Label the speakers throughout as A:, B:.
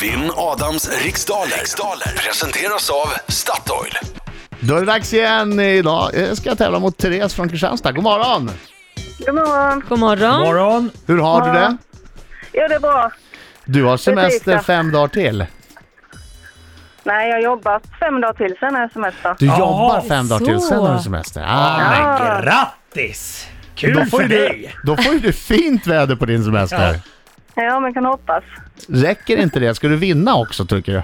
A: Vinn Adams riksdaler. riksdaler presenteras av Statoil.
B: Då är det dags igen. Idag eh, ska jag tävla mot Therese från Kristianstad. God morgon!
C: God morgon.
D: God morgon.
E: Morgon!
B: Hur har du det?
C: Ja, det är bra.
B: Du har semester
C: Precis, ja.
B: fem dagar till.
C: Nej, jag jobbar fem dagar till, sen är det semester.
B: Du
E: Jaha,
B: jobbar fem dagar till,
D: så.
B: sen har du semester. Ah.
E: Men grattis!
B: Då
E: Kul
B: får,
E: för
B: ju du,
E: dig!
B: då får ju du fint väder på din semester.
C: Ja, men kan hoppas.
B: Räcker inte det? Ska du vinna också tycker du?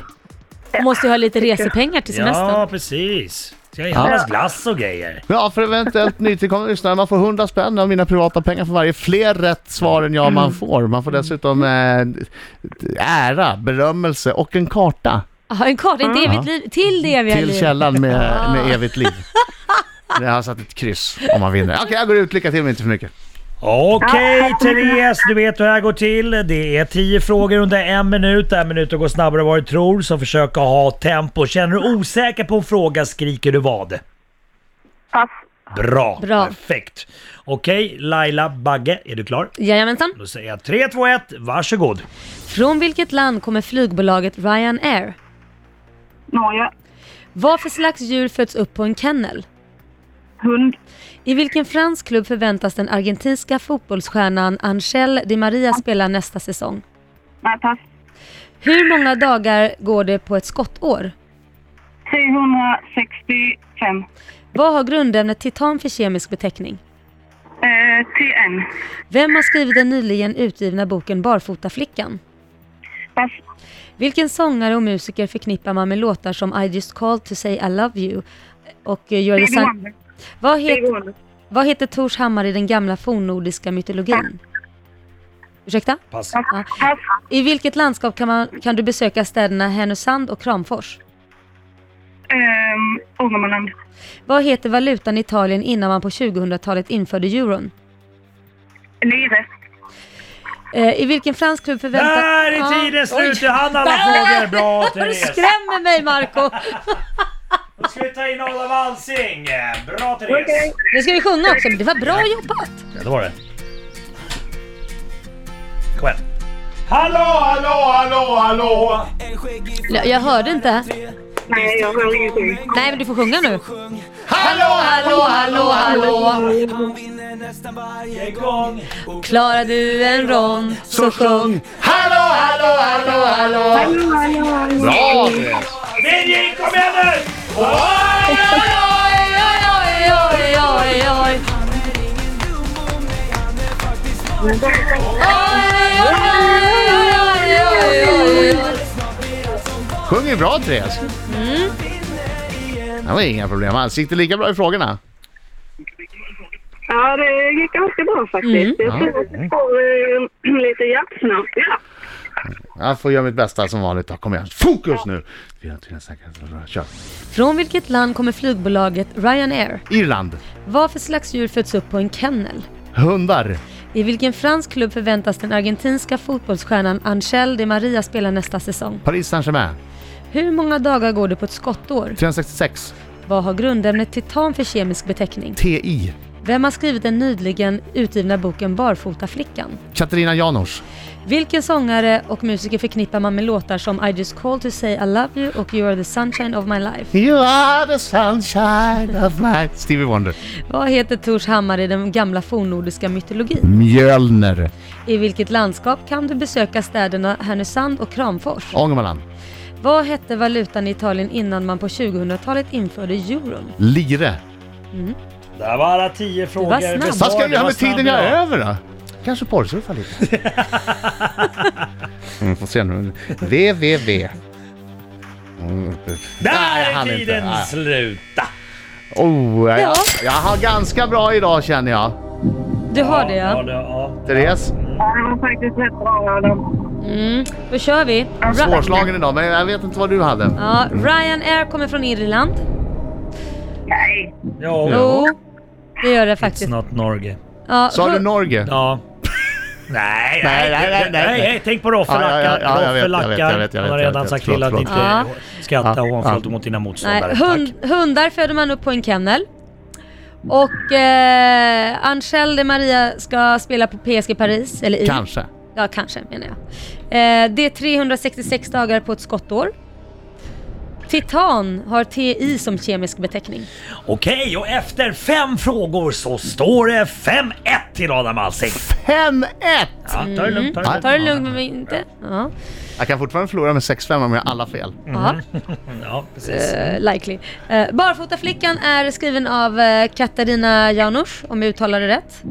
D: Du måste ju ha lite resepengar till semestern.
E: Ja, precis. Ska det handlas glass och grejer?
B: Ja, för eventuellt nytillkomna lyssnare, man får 100 spänn av mina privata pengar för varje fler rätt svar än jag man får. Man får dessutom eh, ära, berömmelse och en karta
D: Jaha, en karta, inte evigt liv, till det eviga
B: till
D: liv.
B: källan med, med evigt liv. Jag har satt ett kryss om man vinner. Okej, jag går ut. Lycka till men inte för mycket.
E: Okej Therese, du vet hur det här går till. Det är 10 frågor under en minut. En minut går snabbare än vad du tror, så försök att ha tempo. Känner du osäker på en fråga skriker du vad?
C: Pass.
E: Bra,
D: Bra.
E: perfekt. Okej, Laila Bagge, är du klar?
D: Jajamensan.
E: Då säger jag 3, 2, 1, varsågod.
D: Från vilket land kommer flygbolaget Ryanair?
C: Norge.
D: Vad för slags djur föds upp på en kennel?
C: Hund.
D: I vilken fransk klubb förväntas den argentinska fotbollsstjärnan Angel Di Maria spela nästa säsong?
C: Nej, pass.
D: Hur många dagar går det på ett skottår?
C: 365.
D: Vad har grundämnet titan för kemisk beteckning?
C: Eh, TN.
D: Vem har skrivit den nyligen utgivna boken Barfotaflickan?
C: Pass.
D: Vilken sångare och musiker förknippar man med låtar som I just called to say I love you och eh, You're
C: Stevie
D: the sun...
C: Wonder.
D: Vad
C: Stevie
D: heter,
C: Wonder.
D: vad heter Tors hammar i den gamla fornnordiska mytologin? Ursäkta?
E: Pass.
D: Ja.
C: Pass.
D: I vilket landskap kan, man, kan du besöka städerna Härnösand och Kramfors?
C: Ehm, Ångermanland.
D: Vad heter valutan i Italien innan man på 2000-talet införde euron?
C: Lire.
D: Eh, I vilken fransk klubb förväntas...
E: Där är tiden slut! Du hann alla frågor. Bra
D: Du
E: Therese!
D: skrämmer mig Marco
E: Då ska vi ta in Adam Alsing. Bra Therese!
C: Okej.
D: Nu ska vi sjunga också, men det var bra jobbat!
E: Ja, det var det. Kom igen. Hallå, hallå, hallå, hallå!
D: Jag, jag hörde inte.
C: Nej, jag hör ingenting.
D: Nej, men du får sjunga nu.
B: Hallå, hallå, hallå, hallå!
E: Igång!
D: Klarar du en rond så sjung.
B: Hallå, hallå, hallå, hallå!
C: Hallå, hallå, hallå.
B: Bra!
E: Vinji, kom igen nu!
D: Oj, oj, oj, oj, oj, oj. Oj, oj, oj, oj, oj, oj, oj.
B: Sjunger bra Therese. Det var inga problem alls. Gick det lika bra i frågorna?
C: Ja, det gick ganska bra faktiskt. Jag tror att jag får eh, lite hjärtsnabbt. Ja.
B: Jag får göra mitt bästa som vanligt. Då. Kom igen, fokus nu! Fyra, tre, sex, Kör.
D: Från vilket land kommer flygbolaget Ryanair?
B: Irland.
D: Vad för slags djur föds upp på en kennel?
B: Hundar.
D: I vilken fransk klubb förväntas den argentinska fotbollsstjärnan Angel Di Maria spela nästa säsong?
B: Paris Saint-Germain.
D: Hur många dagar går det på ett skottår?
B: 366.
D: Vad har grundämnet titan för kemisk beteckning?
B: TI.
D: Vem har skrivit den nyligen utgivna boken Barfotaflickan?
B: Katarina Janouch.
D: Vilken sångare och musiker förknippar man med låtar som I just call to say I love you och You are the sunshine of my life?
B: You are the sunshine of my... Stevie Wonder.
D: Vad heter Tors hammare i den gamla fornnordiska mytologin?
B: Mjölner.
D: I vilket landskap kan du besöka städerna Härnösand och Kramfors?
B: Ångermanland.
D: Vad hette valutan i Italien innan man på 2000-talet införde euron?
B: Lire.
E: Där var alla tio frågor
D: var snabb.
E: besvarade.
B: Vad ska jag göra
E: Vad
B: med
E: snabb
B: tiden jag
E: du
B: är
E: var.
B: över då? Kanske porrsurfa lite. mm, får se nu. www. Mm, Nej, jag
E: Där är
B: hann inte.
E: tiden
B: Nej.
E: sluta!
B: Oh, jag,
D: Ja.
B: jag har ganska bra idag känner jag.
D: Du har det
E: Ja,
D: ja?
E: det, ja.
B: Therese,
C: Ja, det var faktiskt rätt bra, Adam.
D: Mm, då kör vi! Ra-
B: svårslagen idag men jag vet inte vad du hade.
D: ja, Ryanair kommer från Irland.
C: Nej.
E: Jo,
D: Jo, det gör det
E: It's
D: faktiskt.
E: not Norge.
D: Ja,
B: Sa du
D: hu-
B: Norge?
E: Ja. Nej,
B: Nej, nej, nej, nej.
E: tänk på Roffe
B: Ja, ja, ja,
E: Lackar.
B: ja, jag vet,
E: Roffe
B: jag vet, jag vet, jag
E: Lackar. Han har
B: vet, jag
E: redan
B: vet.
E: sagt
B: Förlåt,
E: till att
B: förlåt.
E: inte
D: Ja.
E: skratta
B: Ja,
E: hånfullt
B: ja.
E: mot dina motståndare.
D: Nej,
E: Tack.
D: hund, hundar föder man upp på en kennel. Och eh, Angel de Maria ska spela på PSG Paris, eller i.
B: Kanske.
D: Ja, kanske menar jag. Eh, det är 366 dagar på ett skottår. Titan har TI som kemisk beteckning.
E: Okej, och efter fem frågor så står det 5-1 till Adam Alsing.
B: 5-1!
E: Ja, ta det lugnt, ta det lugnt.
D: Ta det lugnt men inte... Ja.
B: Jag kan fortfarande förlora med 6-5 om jag har alla fel.
D: Ja.
E: Ja, precis.
D: Eh, likely. Eh, Barfotaflickan är skriven av eh, Katarina Janouch, om jag uttalar det rätt.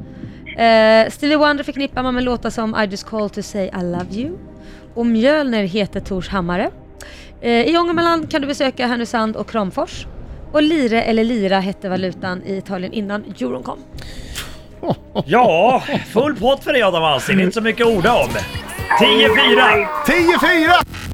D: Eh, Stevie Wonder förknippar man med låtar som I just call to say I love you och Mjölner heter Tors hammare. Eh, I Ångermanland kan du besöka Härnösand och Kramfors. Och lire eller lira hette valutan i Italien innan euron kom.
E: Ja, full pott för dig Adam Alsing. Inte så mycket att orda om. 10-4.
B: 10-4!